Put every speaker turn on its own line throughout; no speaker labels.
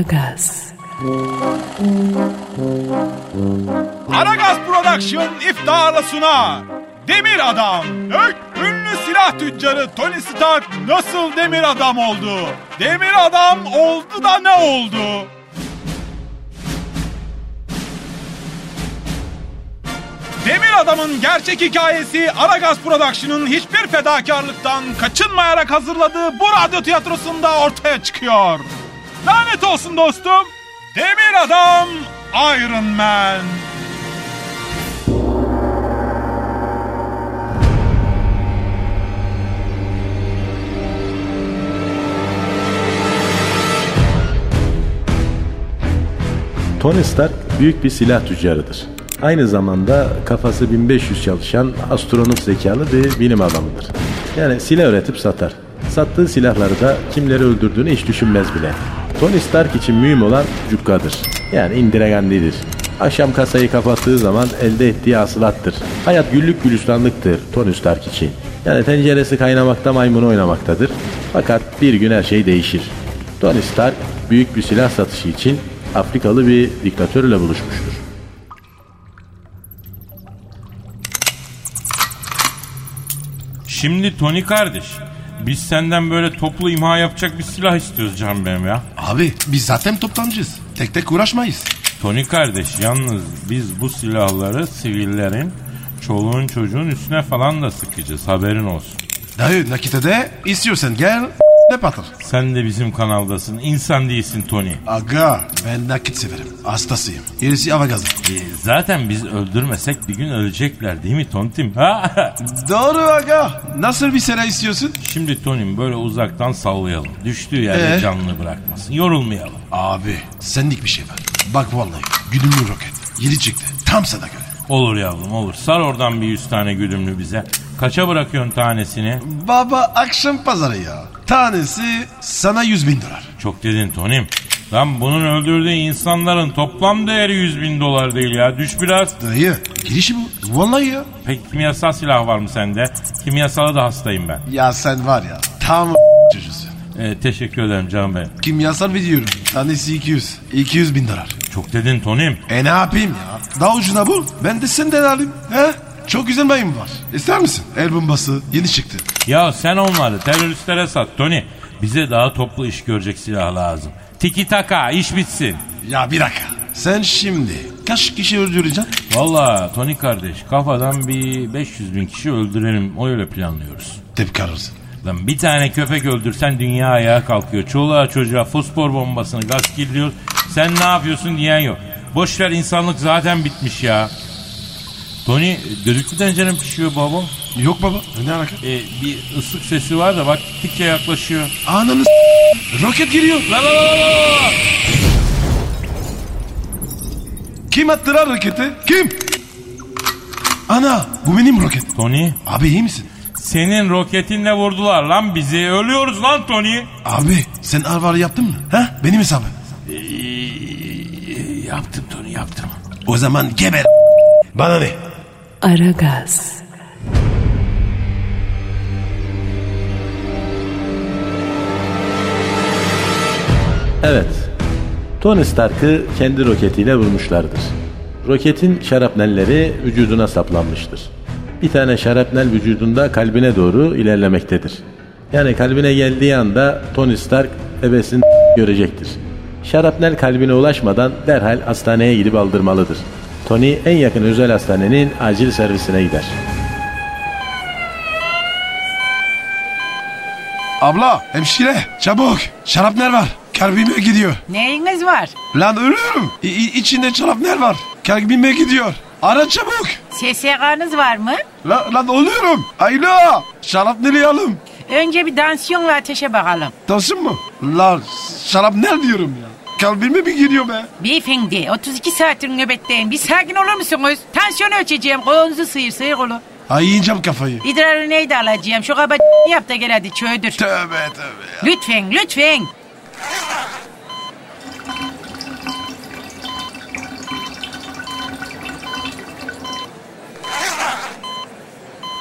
Aragaz,
Aragaz Production iftara sunar. Demir Adam. Ö- Ünlü silah tüccarı Tony Stark nasıl demir adam oldu? Demir adam oldu da ne oldu? Demir Adam'ın gerçek hikayesi Aragaz Production'ın hiçbir fedakarlıktan kaçınmayarak hazırladığı bu radyo tiyatrosunda ortaya çıkıyor. Lanet olsun dostum. Demir Adam Iron Man.
Tony Stark büyük bir silah tüccarıdır. Aynı zamanda kafası 1500 çalışan astronot zekalı bir bilim adamıdır. Yani silah üretip satar. Sattığı silahları da kimleri öldürdüğünü hiç düşünmez bile. Tony Stark için mühim olan cukkadır. Yani Indira Gandhi'dir. Akşam kasayı kapattığı zaman elde ettiği hasılattır. Hayat güllük gülistanlıktır Tony Stark için. Yani tenceresi kaynamakta maymun oynamaktadır. Fakat bir gün her şey değişir. Tony Stark büyük bir silah satışı için Afrikalı bir diktatörle buluşmuştur.
Şimdi Tony kardeş biz senden böyle toplu imha yapacak bir silah istiyoruz canım benim ya.
Abi biz zaten toptancıyız. Tek tek uğraşmayız.
Tony kardeş yalnız biz bu silahları sivillerin çoluğun çocuğun üstüne falan da sıkacağız haberin olsun.
Dayı nakite de istiyorsan gel ne patır.
Sen de bizim kanaldasın insan değilsin Tony.
Aga ben nakit severim. Hastasıyım. Gerisi hava gazı.
E, zaten biz öldürmesek bir gün ölecekler değil mi Tontim? Ha?
Doğru aga. Nasıl bir sene istiyorsun?
Şimdi Tony'm böyle uzaktan sallayalım. Düştüğü yerde
Ee?
canlı bırakmasın. Yorulmayalım.
Abi senlik bir şey var. Bak vallahi güdümlü roket. Yeni çıktı. Tam sana göre.
Olur yavrum olur. Sar oradan bir yüz tane güdümlü bize. Kaça bırakıyorsun tanesini?
Baba akşam pazarı ya. Tanesi sana 100 bin dolar.
Çok dedin Tony'm. Lan bunun öldürdüğü insanların toplam değeri 100 bin dolar değil ya. Düş biraz.
Dayı girişi bu. Vallahi ya.
Peki kimyasal silah var mı sende? Kimyasala da hastayım ben.
Ya sen var ya tam çocuğusun.
E, teşekkür ederim canım benim.
Kimyasal biliyorum. Tanesi 200. 200 bin dolar.
Çok dedin Tony'm.
E ne yapayım ya? Daha ucuna bul. Ben de senden alayım. He? Çok güzel mayın var. İster misin? El bombası yeni çıktı.
Ya sen onları teröristlere sat Tony. Bize daha toplu iş görecek silah lazım. Tiki taka iş bitsin.
Ya bir dakika. Sen şimdi kaç kişi öldüreceksin?
Valla Tony kardeş kafadan bir 500 bin kişi öldürelim. O öyle planlıyoruz.
Tepki arası.
Lan bir tane köpek öldürsen dünya ayağa kalkıyor. Çoluğa çocuğa fosfor bombasını gaz kirliyor. Sen ne yapıyorsun diyen yok. Boşver insanlık zaten bitmiş ya. Tony düdüklü tencere mi pişiyor baba?
Yok baba. Ne alaka?
E, bir ıslık sesi var da bak gittikçe yaklaşıyor.
Ananı s- Roket giriyor.
La la la la la la!
Kim attılar roketi? Kim? Ana bu benim roket.
Tony
Abi iyi misin?
senin roketinle vurdular lan bizi. Ölüyoruz lan Tony.
Abi sen alvarı yaptın mı? He? Benim hesabım.
Ee, yaptım Tony yaptım.
O zaman geber. Bana ne?
Aragaz,
Evet, Tony Stark'ı kendi roketiyle vurmuşlardır. Roketin şarapnelleri vücuduna saplanmıştır. Bir tane şarapnel vücudunda kalbine doğru ilerlemektedir. Yani kalbine geldiği anda Tony Stark ebesini görecektir. Şarapnel kalbine ulaşmadan derhal hastaneye gidip aldırmalıdır. Tony en yakın özel hastanenin acil servisine gider.
Abla hemşire çabuk. Şarapnel var. Kalbime gidiyor.
Neyiniz var?
Lan ölürüm. İ- i- içinde şarapnel var. Kalbime gidiyor. Ara çabuk.
SSK'nız var mı?
Lan, lan ölüyorum. Ayla. Şarapneli alım.
Önce bir dansiyonla ateşe bakalım.
Tansın mı? Lan şarapnel diyorum ya. Kalbime mi giriyor be?
Beyefendi 32 saattir nöbetteyim. Bir sakin olur musunuz? Tansiyonu ölçeceğim. Kolunuzu sıyır sıyır kolu.
Ay yiyeceğim kafayı.
İdrarı neydi alacağım? Şu kaba yap da gel hadi çöğdür.
Tövbe tövbe ya.
Lütfen lütfen.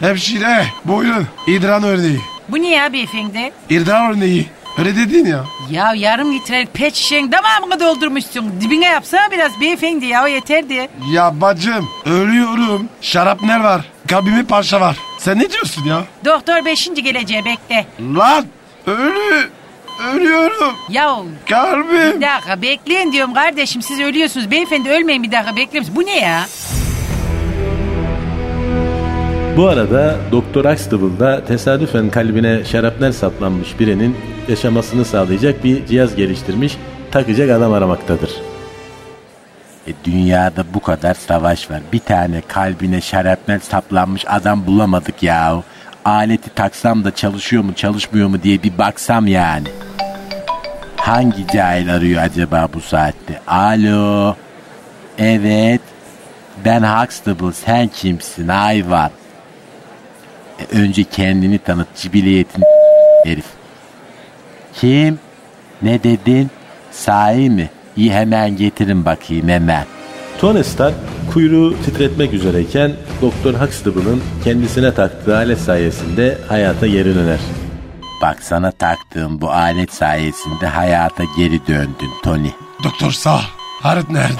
Hemşire buyurun. İdran örneği.
Bu ne ya beyefendi?
İdran örneği. Öyle dedin ya.
Ya yarım litrelik pet şişenin damağımı doldurmuşsun. Dibine yapsana biraz beyefendi ya o yeterdi.
Ya bacım ölüyorum. Şarapner var. Kabime parça var. Sen ne diyorsun ya?
Doktor beşinci geleceği bekle.
Lan ölü ölüyorum.
Ya
Kalbim.
bir dakika bekleyin diyorum kardeşim siz ölüyorsunuz. Beyefendi ölmeyin bir dakika bekleyin. Bu ne ya?
Bu arada Doktor Axtable da tesadüfen kalbine şarapnel saplanmış birinin yaşamasını sağlayacak bir cihaz geliştirmiş, takacak adam aramaktadır.
E, dünyada bu kadar savaş var. Bir tane kalbine şarapnel saplanmış adam bulamadık ya. Aleti taksam da çalışıyor mu çalışmıyor mu diye bir baksam yani. Hangi cahil arıyor acaba bu saatte? Alo. Evet. Ben Huxtable sen kimsin hayvan? E, önce kendini tanıt cibiliyetini herif. Kim? Ne dedin? Sahi mi? İyi hemen getirin bakayım hemen.
Tony Stark kuyruğu titretmek üzereyken Doktor Huxtable'ın kendisine taktığı alet sayesinde hayata geri döner.
Bak sana taktığım bu alet sayesinde hayata geri döndün Tony.
Doktor sağ. ol. Harit nerede?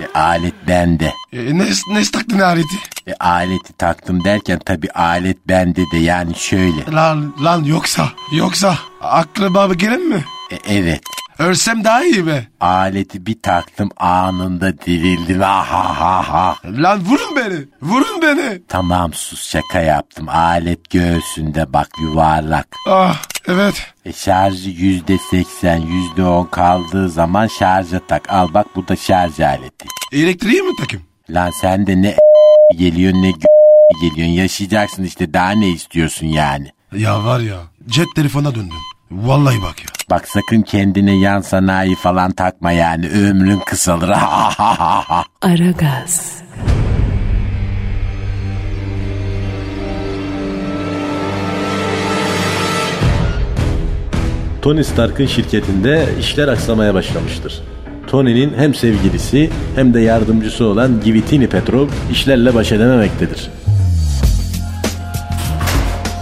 E, alet bende.
E, ne, ne taktın hariti?
E, aleti taktım derken tabi alet bende de yani şöyle.
Lan, lan yoksa yoksa aklı baba gelin mi?
E, evet
Ölsem daha iyi be.
aleti bir taktım anında dirildim. Ah, ha ha ha.
Lan vurun beni. Vurun beni.
Tamam sus şaka yaptım. Alet göğsünde bak yuvarlak.
Ah evet.
E şarjı yüzde seksen, yüzde on kaldığı zaman şarja tak. Al bak bu da şarj aleti.
Elektriği mi takayım?
Lan sen de ne geliyor ne geliyorsun. Yaşayacaksın işte daha ne istiyorsun yani.
Ya var ya cep telefona döndün. Vallahi bak ya.
Bak sakın kendine yan sanayi falan takma yani ömrün kısalır.
Aragaz.
Tony Stark'ın şirketinde işler aksamaya başlamıştır. Tony'nin hem sevgilisi hem de yardımcısı olan Givitini Petrov işlerle baş edememektedir.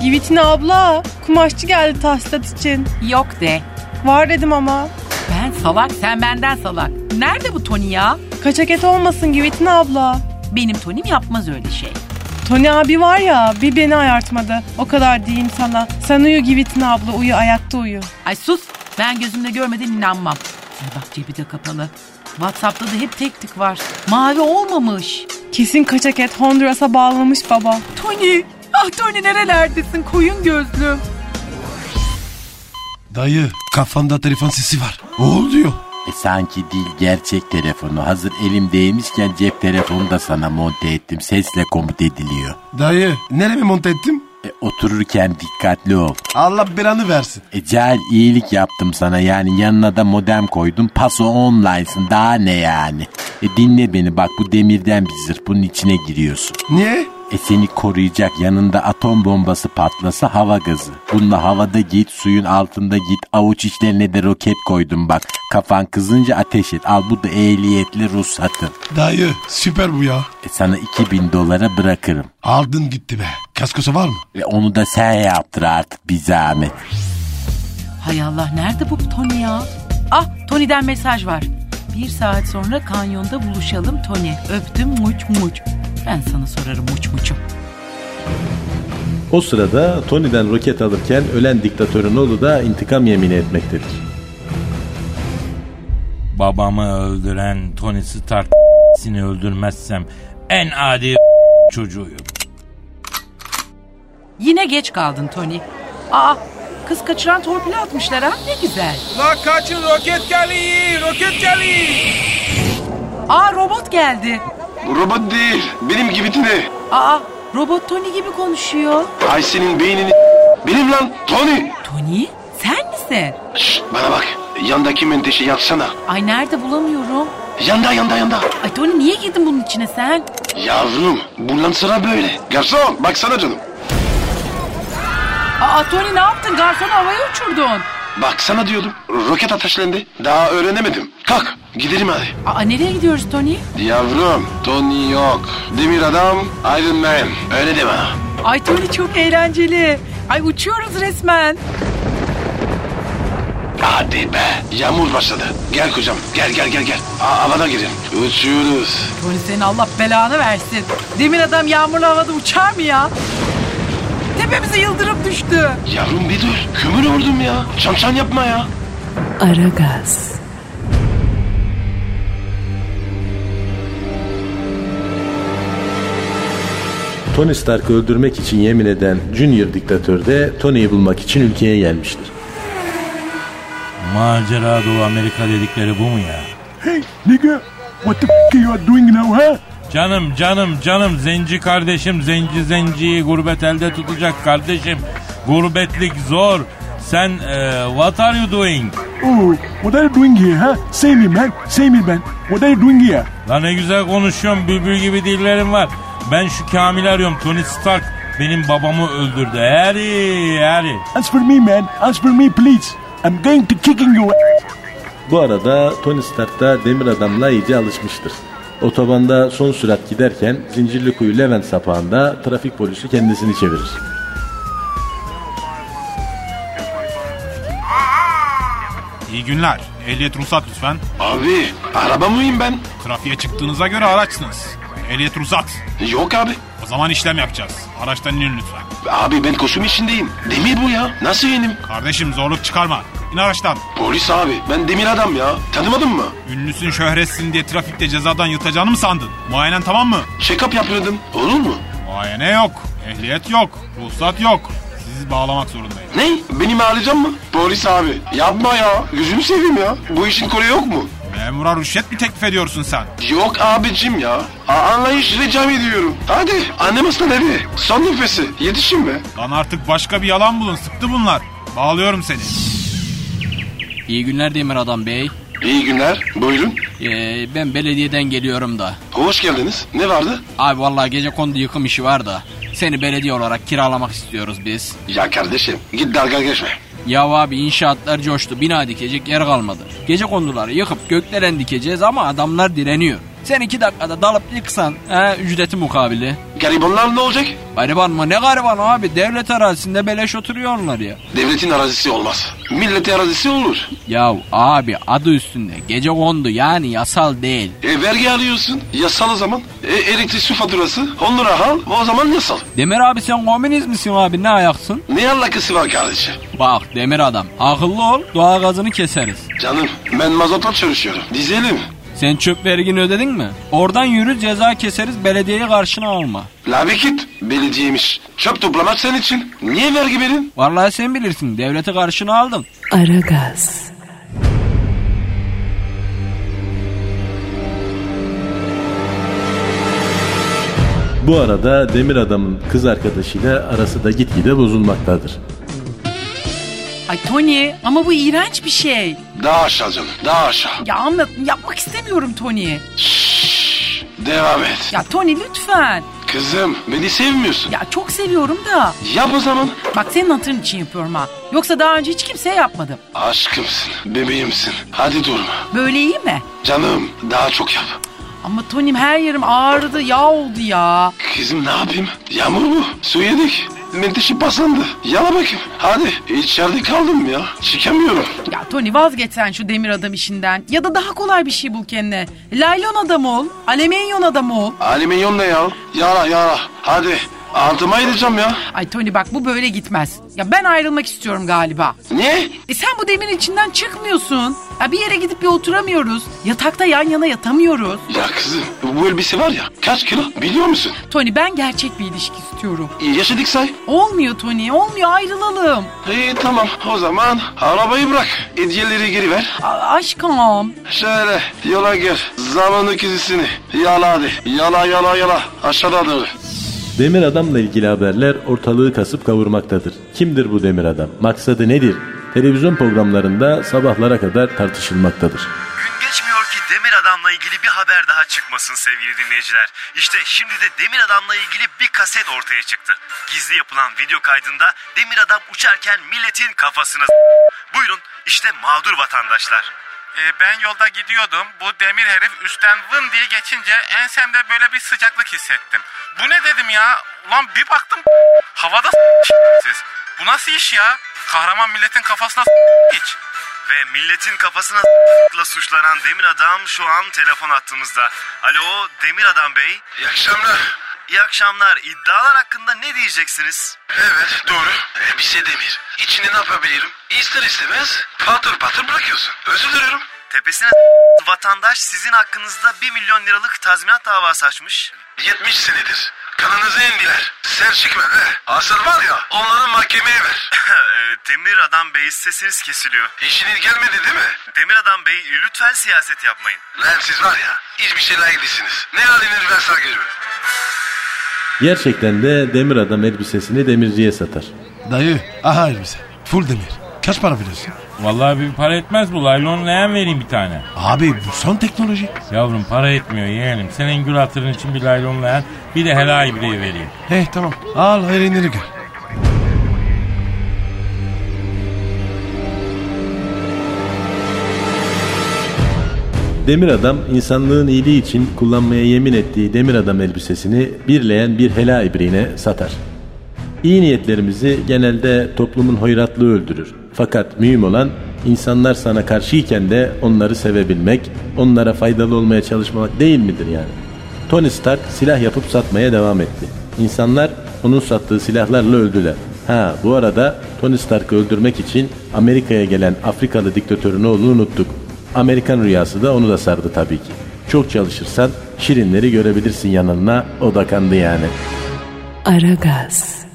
Givitin abla kumaşçı geldi tahsilat için.
Yok de.
Var dedim ama.
Ben salak sen benden salak. Nerede bu Tony ya?
Kaçak et olmasın Givitin abla.
Benim Tony'm yapmaz öyle şey.
Tony abi var ya bir beni ayartmadı. O kadar diyeyim sana. Sen uyu Givitin abla uyu ayakta uyu.
Ay sus ben gözümle görmeden inanmam. Ay bak cebi de kapalı. Whatsapp'ta da hep tek tık var. Mavi olmamış.
Kesin kaçak et Honduras'a bağlamış baba.
Tony! Ah Tony nerelerdesin koyun gözlüm.
Dayı kafanda telefon sesi var. Oğul diyor.
E sanki değil gerçek telefonu. Hazır elimdeymişken cep telefonu da sana monte ettim. Sesle komut ediliyor.
Dayı nereye monte ettim?
E, otururken dikkatli ol.
Allah belanı versin.
E cahil iyilik yaptım sana yani yanına da modem koydum. Paso online'sın daha ne yani. E dinle beni bak bu demirden bir zırh bunun içine giriyorsun.
Niye?
E seni koruyacak yanında atom bombası patlasa hava gazı. Bununla havada git suyun altında git avuç içlerine de roket koydum bak. Kafan kızınca ateş et al bu da ehliyetli ruhsatın.
Dayı süper bu ya.
E sana 2000 dolara bırakırım.
Aldın gitti be. Kaskosu var mı?
E onu da sen yaptır artık bir zahmet.
Hay Allah nerede bu Tony ya? Ah Tony'den mesaj var. Bir saat sonra kanyonda buluşalım Tony. Öptüm muç muç. Ben sana sorarım muç muçum.
O sırada Tony'den roket alırken ölen diktatörün oğlu da intikam yemini etmektedir.
Babamı öldüren Tony Stark sini öldürmezsem en adi çocuğuyum.
Yine geç kaldın Tony. Aa kız kaçıran torpili atmışlar ha ne güzel.
La kaçın roket geliyor, roket geliyor.
Aa robot geldi.
Robot değil. Benim gibitini.
Aa robot Tony gibi konuşuyor.
Ay senin beynini. Benim lan Tony.
Tony sen misin?
Şşt, bana bak. Yandaki menteşe yaksana.
Ay nerede bulamıyorum.
Yanda yanda yanda.
Ay Tony niye girdin bunun içine sen?
Yavrum bundan sıra böyle. Garson baksana canım.
Aa Tony ne yaptın? Garsonu havaya uçurdun.
Baksana diyordum. Roket ateşlendi. Daha öğrenemedim. Kalk gidelim hadi.
Aa nereye gidiyoruz Tony?
Yavrum Tony yok. Demir adam Iron Man. Öyle deme.
Ay Tony çok eğlenceli. Ay uçuyoruz resmen.
Hadi be. Yağmur başladı. Gel kocam. Gel gel gel gel. A- havada girelim. Uçuyoruz.
Tony senin Allah belanı versin. Demin adam yağmurlu havada uçar mı ya? Tepemize yıldırım düştü.
Yavrum bir dur. Kömür vurdum ya. Çamçan yapma ya.
Aragaz,
Tony Stark'ı öldürmek için yemin eden Junior diktatör de Tony'yi bulmak için ülkeye gelmiştir.
Macera Doğu Amerika dedikleri bu mu ya?
Nigga, what the f- you are doing now, huh?
Canım canım canım zenci kardeşim zenci zenciyi gurbet elde tutacak kardeşim. Gurbetlik zor. Sen e, what are you doing?
Oh, what are you doing here, huh? Say me, man. Say me, man. What are you doing here?
Lan ne güzel konuşuyorum bülbül gibi dillerim var. Ben şu Kamil arıyorum Tony Stark benim babamı öldürdü. Heri heri.
As for me, man. As for me, please. I'm going to kicking you.
Bu arada Tony Stark da demir adamla iyice alışmıştır. Otobanda son sürat giderken Zincirlikuyu Levent sapağında trafik polisi kendisini çevirir.
İyi günler. Ehliyet ruhsat lütfen.
Abi araba mıyım ben?
Trafiğe çıktığınıza göre araçsınız. Ehliyet ruhsat.
Yok abi.
O zaman işlem yapacağız. Araçtan inin lütfen.
Abi ben koşum içindeyim. Demir bu ya. Nasıl yenim?
Kardeşim zorluk çıkarma. İn araçtan.
Polis abi. Ben demir adam ya. Tanımadın mı?
Ünlüsün şöhretsin diye trafikte cezadan yırtacağını mı sandın? Muayenen tamam mı?
Check-up yapıyordum. Olur mu?
Muayene yok. Ehliyet yok. Ruhsat yok. Sizi bağlamak zorundayım.
Ne? Benim ağlayacağım mı? Polis abi. Yapma ya. Gözünü seveyim ya. Bu işin kolu yok mu?
Memura rüşvet mi teklif ediyorsun sen?
Yok abicim ya. A- anlayış ricam ediyorum. Hadi annem aslan evi. Son nefesi. Yetişin be.
Lan artık başka bir yalan bulun. Sıktı bunlar. Bağlıyorum seni.
İyi günler Demir Adam Bey.
İyi günler. Buyurun.
Ee, ben belediyeden geliyorum da.
Hoş geldiniz. Ne vardı?
Abi vallahi gece kondu yıkım işi var da. Seni belediye olarak kiralamak istiyoruz biz.
Ya kardeşim git dalga geçme.
Ya abi inşaatlar coştu. Bina dikecek yer kalmadı. Gece konduları Hani yıkıp gökdelen dikeceğiz ama adamlar direniyor. Sen iki dakikada dalıp yıksan he, ücreti mukabili.
Garibanlar ne olacak?
Gariban mı? Ne gariban abi? Devlet arazisinde beleş oturuyorlar ya.
Devletin arazisi olmaz. Milletin arazisi olur.
Ya abi adı üstünde. Gece kondu yani yasal değil.
E, vergi alıyorsun. Yasal o zaman. E, elektrik su faturası. 10 lira al. O zaman yasal.
Demir abi sen komünist misin abi? Ne ayaksın?
Ne alakası var kardeşim?
Bak demir adam akıllı ol doğal gazını keseriz.
Canım ben mazotla çalışıyorum. Dizelim.
Sen çöp vergini ödedin mi? Oradan yürü ceza keseriz belediyeyi karşına alma.
Labekit belediyemiş. Çöp toplamak senin için. Niye vergi verin?
Vallahi sen bilirsin devleti karşına aldın.
Aragaz,
Bu arada demir adamın kız arkadaşıyla arası da gitgide bozulmaktadır.
Ay Tony ama bu iğrenç bir şey.
Daha aşağı canım. Daha aşağı.
Ya anlat yapmak istemiyorum Tony.
Şşş, devam et.
Ya Tony lütfen.
Kızım beni sevmiyorsun.
Ya çok seviyorum da.
Yap o zaman.
Bak senin hatırın için yapıyorum ha. Yoksa daha önce hiç kimseye yapmadım.
Aşkımsın. Bebeğimsin. Hadi durma.
Böyle iyi mi?
Canım daha çok yap.
Ama Tony'm her yerim ağrıdı yağ oldu ya.
Kızım ne yapayım? Yağmur mu? Su yedik. Menteşe paslandı. Yala bakayım. Hadi içeride kaldım ya. Çıkamıyorum.
Ya Tony vazgeç sen şu demir adam işinden. Ya da daha kolay bir şey bul kendine. Laylon adamı ol. Alemenyon adamı ol.
Alüminyum ne ya? Yara yara. Hadi altıma gideceğim ya.
Ay Tony bak bu böyle gitmez. Ya ben ayrılmak istiyorum galiba.
Niye?
E sen bu demirin içinden çıkmıyorsun. Ya bir yere gidip bir oturamıyoruz. Yatakta yan yana yatamıyoruz.
Ya kızım bu elbise var ya kaç kilo biliyor musun?
Tony ben gerçek bir ilişki istiyorum.
Yaşadık say.
Olmuyor Tony olmuyor ayrılalım.
İyi tamam o zaman arabayı bırak. Hediyeleri geri ver.
A- aşkım.
Şöyle yola gir. Zaman ikizisini. Yala hadi. Yala yala yala. Aşağıda doğru.
Demir adamla ilgili haberler ortalığı kasıp kavurmaktadır. Kimdir bu demir adam? Maksadı nedir? Televizyon programlarında sabahlara kadar tartışılmaktadır.
Gün geçmiyor ki Demir Adam'la ilgili bir haber daha çıkmasın sevgili dinleyiciler. İşte şimdi de Demir Adam'la ilgili bir kaset ortaya çıktı. Gizli yapılan video kaydında Demir Adam uçarken milletin kafasına s- Buyurun işte mağdur vatandaşlar.
Ee, ben yolda gidiyordum. Bu demir herif üstten vın diye geçince ensemde böyle bir sıcaklık hissettim. Bu ne dedim ya? Ulan bir baktım havada siz. Bu nasıl iş ya? Kahraman milletin kafasına hiç.
Ve milletin kafasına s**kla suçlanan demir adam şu an telefon attığımızda. Alo demir adam bey.
İyi akşamlar.
İyi akşamlar. İddialar hakkında ne diyeceksiniz?
Evet doğru. Ee, bir şey demir. İçini ne yapabilirim? İster istemez patır patır bırakıyorsun. Özür dilerim.
Tepesine s- vatandaş sizin hakkınızda 1 milyon liralık tazminat davası açmış.
70 senedir. Kanınızı indiler. Serçik ver he. Asıl var ya onları mahkemeye ver.
Ee, Demir Adam Bey sesiniz kesiliyor.
İşiniz gelmedi değil mi?
Demir Adam Bey lütfen siyaset yapmayın.
Lan siz var ya hiçbir şey layık değilsiniz. Ne haliniz varsa görün.
Gerçekten de demir adam elbisesini demirciye satar.
Dayı aha elbise. Full demir. Kaç para veriyorsun?
Vallahi bir para etmez bu. Laylon leğen vereyim bir tane.
Abi bu son teknoloji.
Yavrum para etmiyor yeğenim. Senin gül hatırın için bir laylon leğen bir de helal ibreyi vereyim.
He Eh, tamam. Al hayranları gör.
Demir adam insanlığın iyiliği için kullanmaya yemin ettiği demir adam elbisesini birleyen bir hela ibriğine satar. İyi niyetlerimizi genelde toplumun hoyratlığı öldürür. Fakat mühim olan insanlar sana karşıyken de onları sevebilmek, onlara faydalı olmaya çalışmak değil midir yani? Tony Stark silah yapıp satmaya devam etti. İnsanlar onun sattığı silahlarla öldüler. Ha bu arada Tony Stark'ı öldürmek için Amerika'ya gelen Afrikalı diktatörün oğlunu unuttuk. Amerikan rüyası da onu da sardı tabii ki. Çok çalışırsan şirinleri görebilirsin yanına o da kandı yani.
Aragaz.